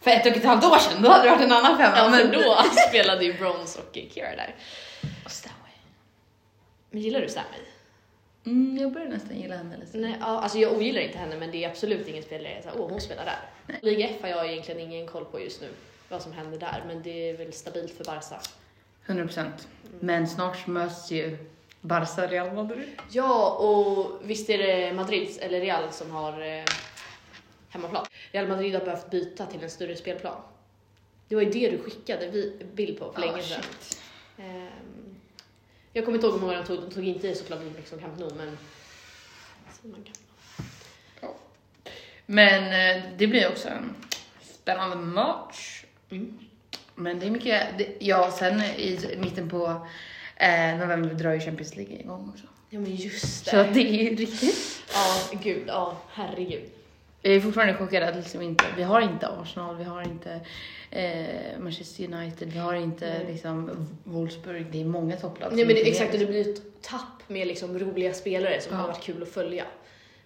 Speaker 1: För ett och ett halvt år sedan, då hade det varit en annan femma.
Speaker 2: Ja, men då [laughs] spelade ju Brons och Kira där.
Speaker 1: Stanway.
Speaker 2: Men gillar du Sammy?
Speaker 1: Mm, jag börjar nästan gilla henne lite.
Speaker 2: Nej, ja, alltså jag ogillar inte henne men det är absolut ingen spelare jag säger åh hon spelar där. Liga F har jag egentligen ingen koll på just nu, vad som händer där, men det är väl stabilt för Barca.
Speaker 1: 100 procent. Men snart möts ju Barca Real Madrid.
Speaker 2: Ja, och visst är det Madrid, eller Real, som har eh, hemmaplan. Real Madrid har behövt byta till en större spelplan. Det var ju det du skickade vi, bild på för
Speaker 1: Ja,
Speaker 2: länge sedan. Ehm, jag kommer inte ihåg hur många de tog, de tog inte i såklart lika mycket som Camp Nou, men... Så man kan-
Speaker 1: Men eh, det blir också en spännande match.
Speaker 2: Mm.
Speaker 1: Men det är mycket, det, ja sen i mitten på eh, november drar ju Champions League igång också.
Speaker 2: Ja men just
Speaker 1: Så det är ju riktigt.
Speaker 2: Ja, gud, ja, herregud.
Speaker 1: Jag är fortfarande chockad att liksom inte, vi har inte Arsenal, vi har inte eh, Manchester United, vi har inte
Speaker 2: Nej.
Speaker 1: liksom Wolfsburg. Det är många topplag.
Speaker 2: Nej men det,
Speaker 1: inte är
Speaker 2: exakt, och
Speaker 1: med.
Speaker 2: det blir ju ett tapp med liksom roliga spelare som
Speaker 1: Ja.
Speaker 2: har varit kul att följa.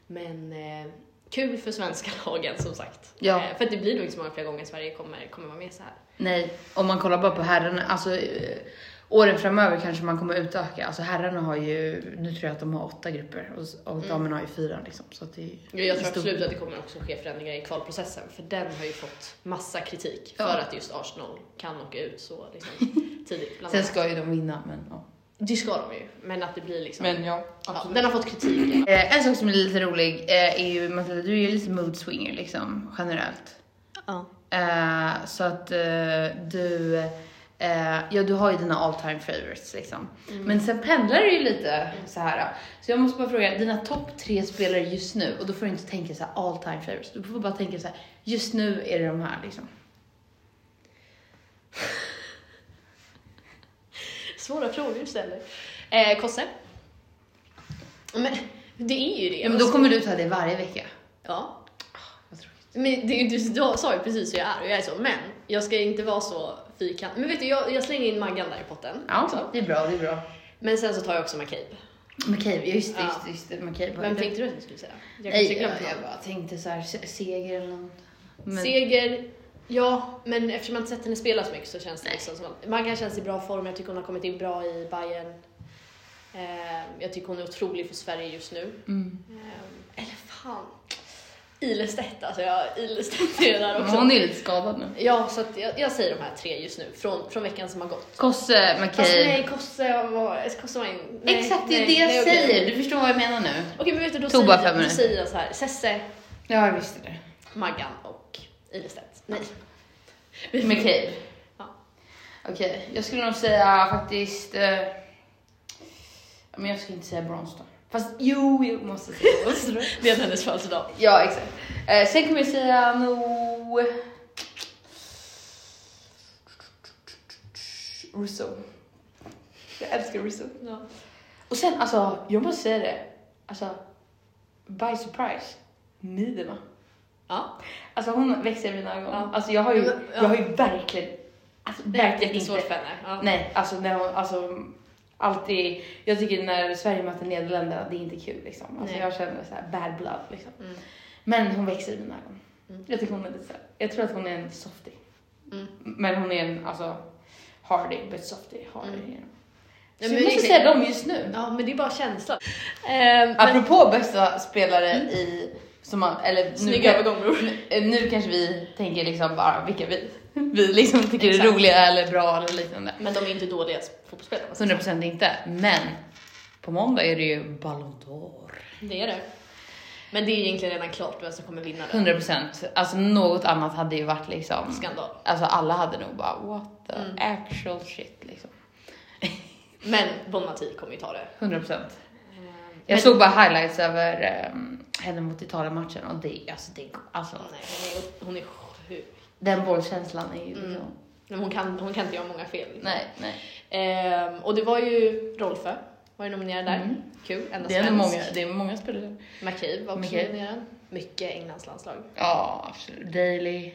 Speaker 2: Men eh, kul för svenska [laughs] lagen som sagt.
Speaker 1: Ja.
Speaker 2: Eh, för att det blir nog inte så många fler gånger Sverige kommer, kommer vara med så här.
Speaker 1: Nej, om man kollar bara på herrarna, alltså eh, åren framöver kanske man kommer utöka. Alltså herrarna har ju, nu tror jag att de har åtta grupper och, s- och
Speaker 2: Mm.
Speaker 1: damerna har ju fyra liksom. Så att det är
Speaker 2: Jo, Jag tror
Speaker 1: stor-
Speaker 2: absolut att det kommer också ske förändringar i kvalprocessen för den har ju fått massa kritik
Speaker 1: Ja.
Speaker 2: för att just Arsenal kan åka ut så liksom,
Speaker 1: [laughs]
Speaker 2: tidigt. Bland
Speaker 1: Sen
Speaker 2: annat.
Speaker 1: ska ju de vinna, men ja.
Speaker 2: Det ska de ju, men att det blir liksom...
Speaker 1: ja,
Speaker 2: ja, den har fått
Speaker 1: [clears throat]
Speaker 2: kritik.
Speaker 1: Eh, en sak som är lite rolig eh, är ju Matilda, du är ju lite mood swinger liksom generellt.
Speaker 2: Ja.
Speaker 1: Eh, så att eh, du, eh, ja du har ju dina all time favorites liksom.
Speaker 2: Mm.
Speaker 1: Men sen pendlar det ju lite så här. Så jag måste bara fråga, dina topp tre spelare just nu och då får du inte tänka så här all time favorites. Du får bara tänka så här, just nu är det de här liksom.
Speaker 2: Svåra frågor du ställer. Eh, Kosse? Men det är ju det.
Speaker 1: Ja, men då kommer du ta det varje vecka.
Speaker 2: Ja.
Speaker 1: Ah, Vad tråkigt.
Speaker 2: Men det, du sa ju precis hur jag är och jag är så, men jag ska inte vara så fyrkantig. Men vet du, jag, jag slänger in Maggan där i potten.
Speaker 1: Ja,
Speaker 2: Så.
Speaker 1: det är bra, det är bra.
Speaker 2: Men sen så tar jag också McCabe.
Speaker 1: McCabe, ja, just det,
Speaker 2: Ja.
Speaker 1: just det, just det. McCabe.
Speaker 2: Vem tänkte du att du skulle säga? Jag kanske
Speaker 1: Nej, jag,
Speaker 2: glömt någon.
Speaker 1: jag bara tänkte så här, se- seger eller något. Men,
Speaker 2: Seger, ja, men eftersom jag inte sett henne spela så mycket så känns det
Speaker 1: Nej.
Speaker 2: liksom som att Maggan känns i bra form. Jag tycker hon har kommit in bra i Bayern. Eh, jag tycker hon är otrolig för Sverige just nu.
Speaker 1: Mm.
Speaker 2: Eh, eller fan, Ilestedt alltså. Jag, Ilestedt är där
Speaker 1: Men
Speaker 2: också.
Speaker 1: hon är lite skadad nu.
Speaker 2: Ja, så att jag, jag säger de här tre just nu från, från veckan som har gått.
Speaker 1: Kosse,
Speaker 2: Fast
Speaker 1: McCabe.
Speaker 2: nej, Kosse var... Kosse var in, nej,
Speaker 1: Exakt, det är
Speaker 2: nej,
Speaker 1: det jag
Speaker 2: nej, okej.
Speaker 1: säger. Du förstår vad jag menar nu.
Speaker 2: Okej, men vet du, då
Speaker 1: Tog bara fem
Speaker 2: säger, då
Speaker 1: minuter.
Speaker 2: säger jag så här. Sesse,
Speaker 1: Ja, jag visste det.
Speaker 2: Maggan och Ilestedt. Nej.
Speaker 1: McCabe.
Speaker 2: Ja.
Speaker 1: Okej, jag skulle nog säga faktiskt... Eh, men jag skulle inte säga Bronstone. Fast jo, jag måste säga Bronstone.
Speaker 2: [laughs] Det är hennes födelsedag.
Speaker 1: [laughs] ja, exakt. Eh, sen kommer jag säga nog... Russo. Jag älskar Russo.
Speaker 2: Ja.
Speaker 1: Och sen alltså, jag måste säga det. Alltså, by surprise, Niederman.
Speaker 2: Ja.
Speaker 1: Alltså hon växer i mina ögon.
Speaker 2: Ja.
Speaker 1: Alltså jag har ju,
Speaker 2: Ja, men- ja.
Speaker 1: jag har ju verkligen, alltså verkligen
Speaker 2: Jättesvårt
Speaker 1: inte.
Speaker 2: för henne. Ja.
Speaker 1: Nej, alltså när hon, alltså alltid, jag tycker när Sverige möter Nederländerna, det är inte kul liksom. Alltså
Speaker 2: Nej.
Speaker 1: jag känner så här bad blood liksom.
Speaker 2: Mm.
Speaker 1: Men hon växer i mina ögon.
Speaker 2: Mm.
Speaker 1: Jag tycker hon är lite så här, jag tror att hon är en softie.
Speaker 2: Mm.
Speaker 1: Men hon är en, alltså, hardy but softie, hardy.
Speaker 2: Mm.
Speaker 1: you know.
Speaker 2: Ja,
Speaker 1: Så
Speaker 2: men
Speaker 1: jag måste
Speaker 2: exakt.
Speaker 1: säga dem just nu.
Speaker 2: Ja, men det är bara känslan. Eh, men,
Speaker 1: Apropå bästa spelare i, som man, eller
Speaker 2: snygg övergång bror.
Speaker 1: Eh, Nu kanske vi tänker liksom bara vilka vi, [laughs] vi liksom tycker är
Speaker 2: Exakt.
Speaker 1: roliga eller bra eller liknande.
Speaker 2: Men de är inte dåliga fotbollsspelare.
Speaker 1: 100% inte, men på måndag är det ju Ballon d'Or.
Speaker 2: Det är det. Men det är egentligen redan klart vem som kommer vinna den.
Speaker 1: 100%, alltså något annat hade ju varit liksom,
Speaker 2: Skandal.
Speaker 1: alltså alla hade nog bara what the
Speaker 2: Mm.
Speaker 1: actual shit liksom.
Speaker 2: Men Bon Mati kommer ju ta det.
Speaker 1: 100%.
Speaker 2: Eh,
Speaker 1: Jag
Speaker 2: men-
Speaker 1: såg bara highlights över ehm, henne mot Italien-matchen och det, alltså, det, alltså
Speaker 2: Nej, hon är, hon är sjuk.
Speaker 1: den bollkänslan är ju
Speaker 2: Mm.
Speaker 1: liksom,
Speaker 2: Men hon, kan, hon kan inte göra många fel.
Speaker 1: nej, nej.
Speaker 2: Ehm, och det var ju Rolfö, var ju nominerad där.
Speaker 1: Mm.
Speaker 2: Kul, enda
Speaker 1: Det är, ändå
Speaker 2: svensk.
Speaker 1: många, det är många spelare.
Speaker 2: McCabe var också
Speaker 1: McCabe.
Speaker 2: nominerad. Mycket Englands landslag.
Speaker 1: Ja, absolut. Daily.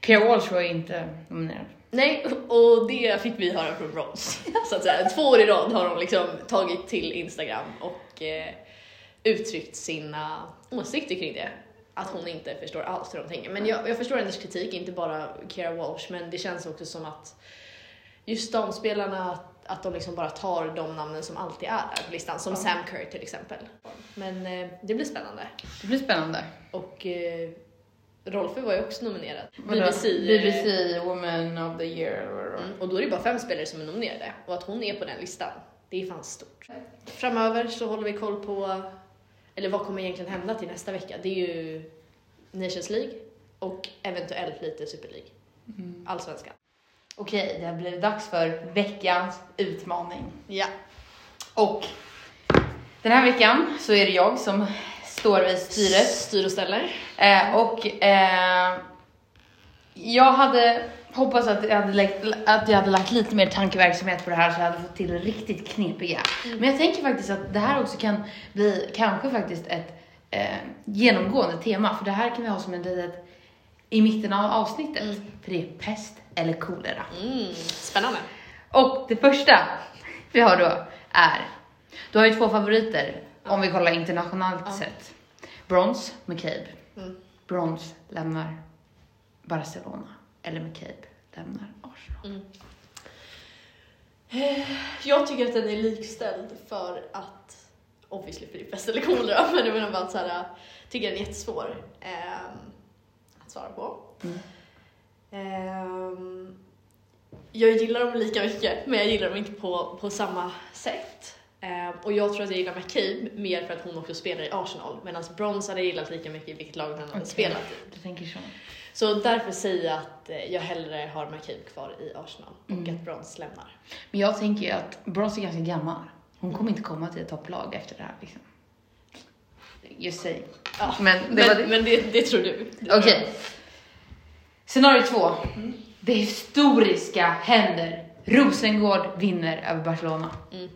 Speaker 1: Pierre Walsh var ju inte nominerad.
Speaker 2: Nej, och det fick vi höra från Ross. Så att säga. Två år i rad har de liksom tagit till Instagram och eh, uttryckt sina åsikter kring det. Att hon inte förstår alls hur de tänker. Men jag, jag förstår hennes kritik, inte bara Kira Walsh, men det känns också som att just de spelarna, att, att de liksom bara tar de namnen som alltid är där på listan. Som
Speaker 1: Ja.
Speaker 2: Sam Kerr till exempel. Men eh, det blir spännande.
Speaker 1: Det blir spännande.
Speaker 2: Och eh, Rolfö var ju också nominerad.
Speaker 1: Vadå?
Speaker 2: BBC, eh,
Speaker 1: BBC Woman of the Year. eller vad det var.
Speaker 2: Mm, och då är det bara fem spelare som är nominerade och att hon är på den listan, det är fan stort. Framöver så håller vi koll på, eller vad kommer egentligen hända till nästa vecka? Det är ju Nations League och eventuellt lite Super League,
Speaker 1: Mm.
Speaker 2: allsvenskan.
Speaker 1: Okej, det har blivit dags för veckans utmaning.
Speaker 2: Ja.
Speaker 1: Och den här veckan så är det jag som står vid styret.
Speaker 2: Styr och ställer.
Speaker 1: Eh, och eh, jag hade hoppats att jag hade, lagt, att jag hade lagt lite mer tankeverksamhet på det här så jag hade fått till riktigt knepiga. Men jag tänker faktiskt att det här också kan bli kanske faktiskt ett eh, genomgående tema för det här kan vi ha som en litet i mitten av avsnittet. För det är pest eller kolera.
Speaker 2: Mm, spännande.
Speaker 1: Och det första vi har då är, du har ju två favoriter om vi kollar internationellt sett. Brons, McCabe.
Speaker 2: Mm.
Speaker 1: Brons lämnar Barcelona. Eller McCabe lämnar Arsenal.
Speaker 2: Jag tycker att den är likställd för att, obviously för det är pest eller kolera, [laughs] men jag menar bara att så här, tycker den är jättesvår ehm, att svara på.
Speaker 1: Mm.
Speaker 2: Ehm, jag gillar dem lika mycket, men jag gillar dem inte på, på samma sätt. Ehm, och jag tror att jag gillar McCabe mer för att hon också spelar i Arsenal, medan Brons hade jag gillat lika mycket i vilket lag hon hade
Speaker 1: Okej.
Speaker 2: spelat i.
Speaker 1: Du tänker så.
Speaker 2: Så därför säger jag att eh, jag hellre har McCabe kvar i Arsenal och
Speaker 1: Mm.
Speaker 2: att Brons lämnar.
Speaker 1: Men jag tänker ju att Brons är ganska gammal. Hon kommer inte komma till ett topplag efter det här liksom. Just saying.
Speaker 2: Ja,
Speaker 1: Men det
Speaker 2: men,
Speaker 1: var det.
Speaker 2: men det, det tror du. Det tror
Speaker 1: Okej.
Speaker 2: jag.
Speaker 1: Mm. Scenario två. Det historiska händer. Rosengård vinner över Barcelona.
Speaker 2: Mm.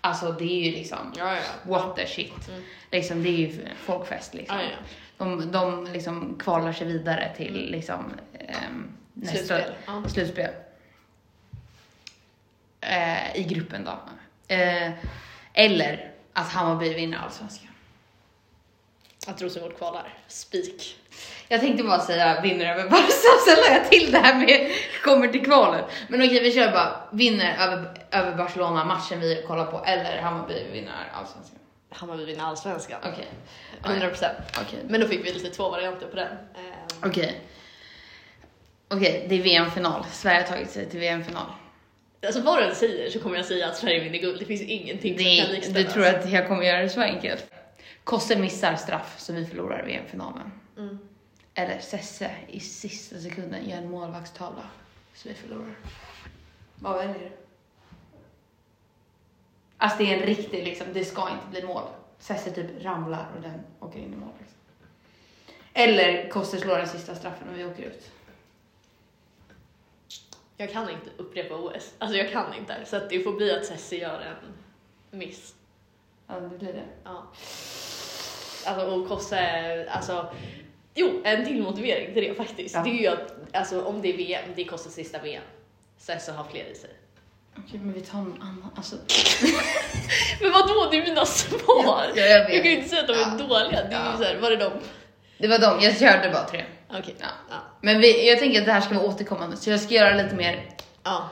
Speaker 1: Alltså det är ju liksom
Speaker 2: Ja, ja.
Speaker 1: what the shit.
Speaker 2: Mm.
Speaker 1: Liksom, det är ju folkfest liksom.
Speaker 2: Ja, ja.
Speaker 1: De, de liksom kvalar sig vidare till
Speaker 2: Mm.
Speaker 1: liksom, ehm, nästa
Speaker 2: Slutspel.
Speaker 1: slutspel.
Speaker 2: Ja.
Speaker 1: Eh, I gruppen då. Eh, eller att Hammarby vinner allsvenskan.
Speaker 2: Att Rosengård kvalar. Spik.
Speaker 1: Jag tänkte bara säga vinner över Barca, [laughs] sen la jag till det här med kommer till kvalen. Men okej, vi kör bara vinner över, över Barcelona, matchen vi kollar på, eller Hammarby vinner allsvenskan.
Speaker 2: Hammarby vinner allsvenskan.
Speaker 1: Okej.
Speaker 2: 100 procent.
Speaker 1: Okej.
Speaker 2: Men då fick vi lite två varianter på den. Eh,
Speaker 1: Okej. Okej, det är VM-final. Sverige har tagit sig till VM-final.
Speaker 2: Alltså vad den säger så kommer jag säga att Sverige vinner guld. Det finns ingenting som kan
Speaker 1: Det, du
Speaker 2: likställas.
Speaker 1: tror att jag kommer göra det så enkelt? Kosse missar straff så vi förlorar VM-finalen.
Speaker 2: Mm.
Speaker 1: Eller Sesse i sista sekunden gör en målvaktstavla så vi förlorar. Vad väljer du? Alltså det är en riktig liksom, det ska inte bli mål. Sesse typ ramlar och den åker in i mål. Liksom. Eller Kosse slår den sista straffen och vi åker ut.
Speaker 2: Jag kan inte upprepa OS. Alltså jag kan inte. Så att det får bli att Cessi gör en miss.
Speaker 1: Ja, det blir det.
Speaker 2: Ja. Alltså och Kosse, alltså. Jo, en till motivering till det faktiskt.
Speaker 1: Ja.
Speaker 2: Det är ju att alltså, om det är VM, det är Kosses sista VM. Cessi har fler i sig.
Speaker 1: Okej, men vi tar någon annan. Alltså,
Speaker 2: [laughs] Men vadå, det är mina svar!
Speaker 1: Ja, jag vet.
Speaker 2: kan ju inte säga att de är
Speaker 1: Ja.
Speaker 2: dåliga. Det är ju
Speaker 1: Ja.
Speaker 2: såhär, var är de?
Speaker 1: det var dem. Jag körde bara tre.
Speaker 2: Okej.
Speaker 1: Ja.
Speaker 2: Ja.
Speaker 1: Men vi, jag tänker att det här ska vara återkommande så jag ska göra lite mer
Speaker 2: Ja.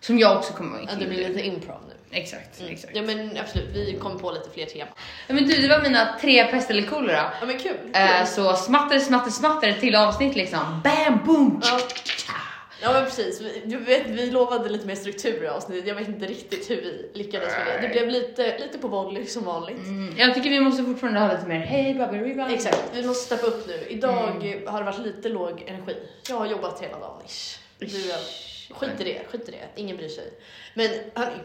Speaker 1: som jag också kommer
Speaker 2: ja, det blir lite improv nu.
Speaker 1: Exakt, exakt.
Speaker 2: Ja men absolut, vi kom på lite fler teman.
Speaker 1: Ja, men du, det var mina tre pest eller kolera.
Speaker 2: Ja men kul!
Speaker 1: Eh, så smatter, smatter, smatter till avsnitt liksom. Bam, boom!
Speaker 2: Ja. Ja men precis, vi, du vet, vi lovade lite mer struktur i avsnittet. Jag vet inte riktigt hur vi lyckades med det. Det blev lite, lite på volley som vanligt.
Speaker 1: Mm, jag tycker vi måste fortfarande ha lite mer hej babby ribba.
Speaker 2: Exakt, Mm. vi måste steppa upp nu. Idag har det varit lite låg energi. Jag har jobbat hela dagen. Ish. Du, eh,
Speaker 1: Ish.
Speaker 2: skit i det, skit i det. Ingen bryr sig. Men hörni,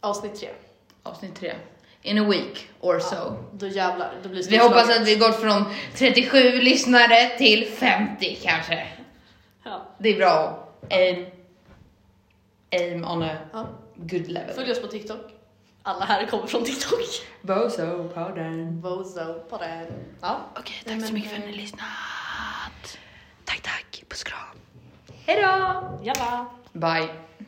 Speaker 2: avsnitt tre.
Speaker 1: Avsnitt tre. In a week or so.
Speaker 2: Då jävlar, då blir det
Speaker 1: Vi hoppas att vi går från 37 lyssnare till 50 kanske.
Speaker 2: Ja.
Speaker 1: Det är bra. Aim, aim on a
Speaker 2: Ja.
Speaker 1: good level.
Speaker 2: Följ oss på TikTok. Alla här kommer från TikTok.
Speaker 1: Bozo-podden.
Speaker 2: Bozo på den. Ja.
Speaker 1: Okej,
Speaker 2: Nej,
Speaker 1: tack så
Speaker 2: men,
Speaker 1: mycket för att
Speaker 2: eh,
Speaker 1: ni har lyssnat. Tack, tack. Puss, kram. Hej då!
Speaker 2: Jalla!
Speaker 1: Bye.